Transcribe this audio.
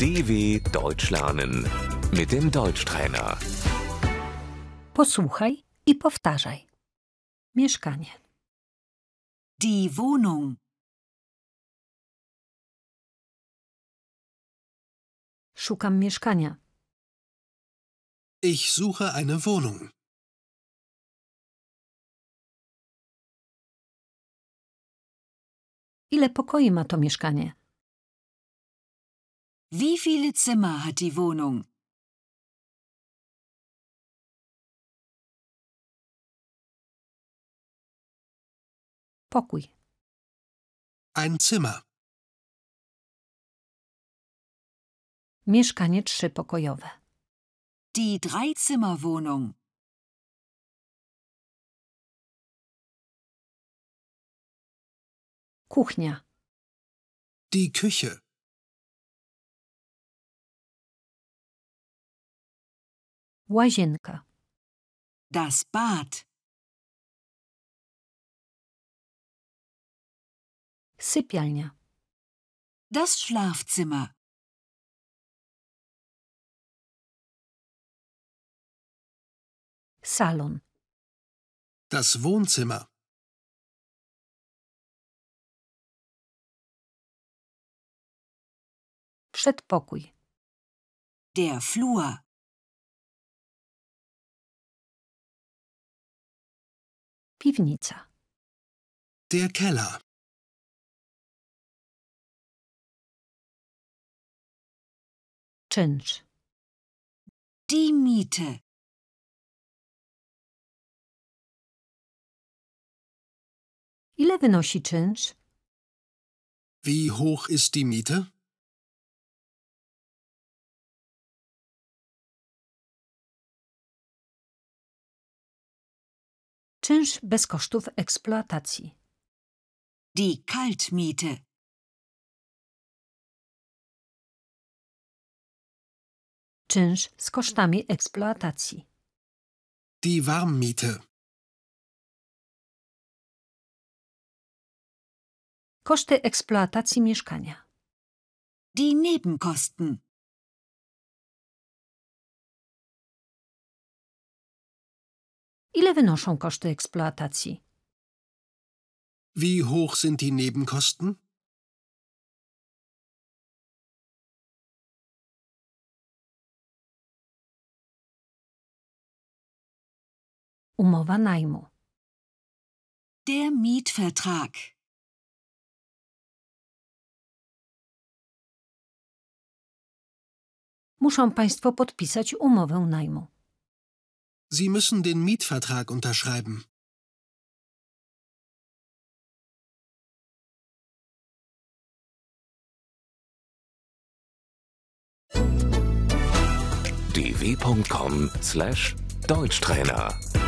DW Deutsch lernen mit dem Deutschtrainer. Posłuchaj i powtarzaj. Mieszkanie. Die Wohnung, Szukam mieszkania. Ich suche eine Wohnung. Ile pokoi ma to mieszkanie? wie viele Zimmer hat die Wohnung? Pokój. Ein Zimmer. Mieszkanie trzypokojowe. Die Dreizimmerwohnung, Kuchnia. Die Küche. Łazienka. das Bad, Sypialnia. das Schlafzimmer, Salon. Das Wohnzimmer. Przedpokój. der Flur, Piwnica. Der Keller. Czynsz. die Miete, Ile wynosi czynsz? Wie hoch ist die Miete? Czynsz bez kosztów eksploatacji. die Kaltmiete, Czynsz z kosztami eksploatacji. Die Warmmiete. Koszty eksploatacji mieszkania. die Nebenkosten, Ile wynoszą koszty eksploatacji? Wie hoch sind die Nebenkosten? Umowa najmu. der Mietvertrag, Muszą Państwo podpisać umowę najmu. Sie müssen den Mietvertrag unterschreiben. dw.com/deutschtrainer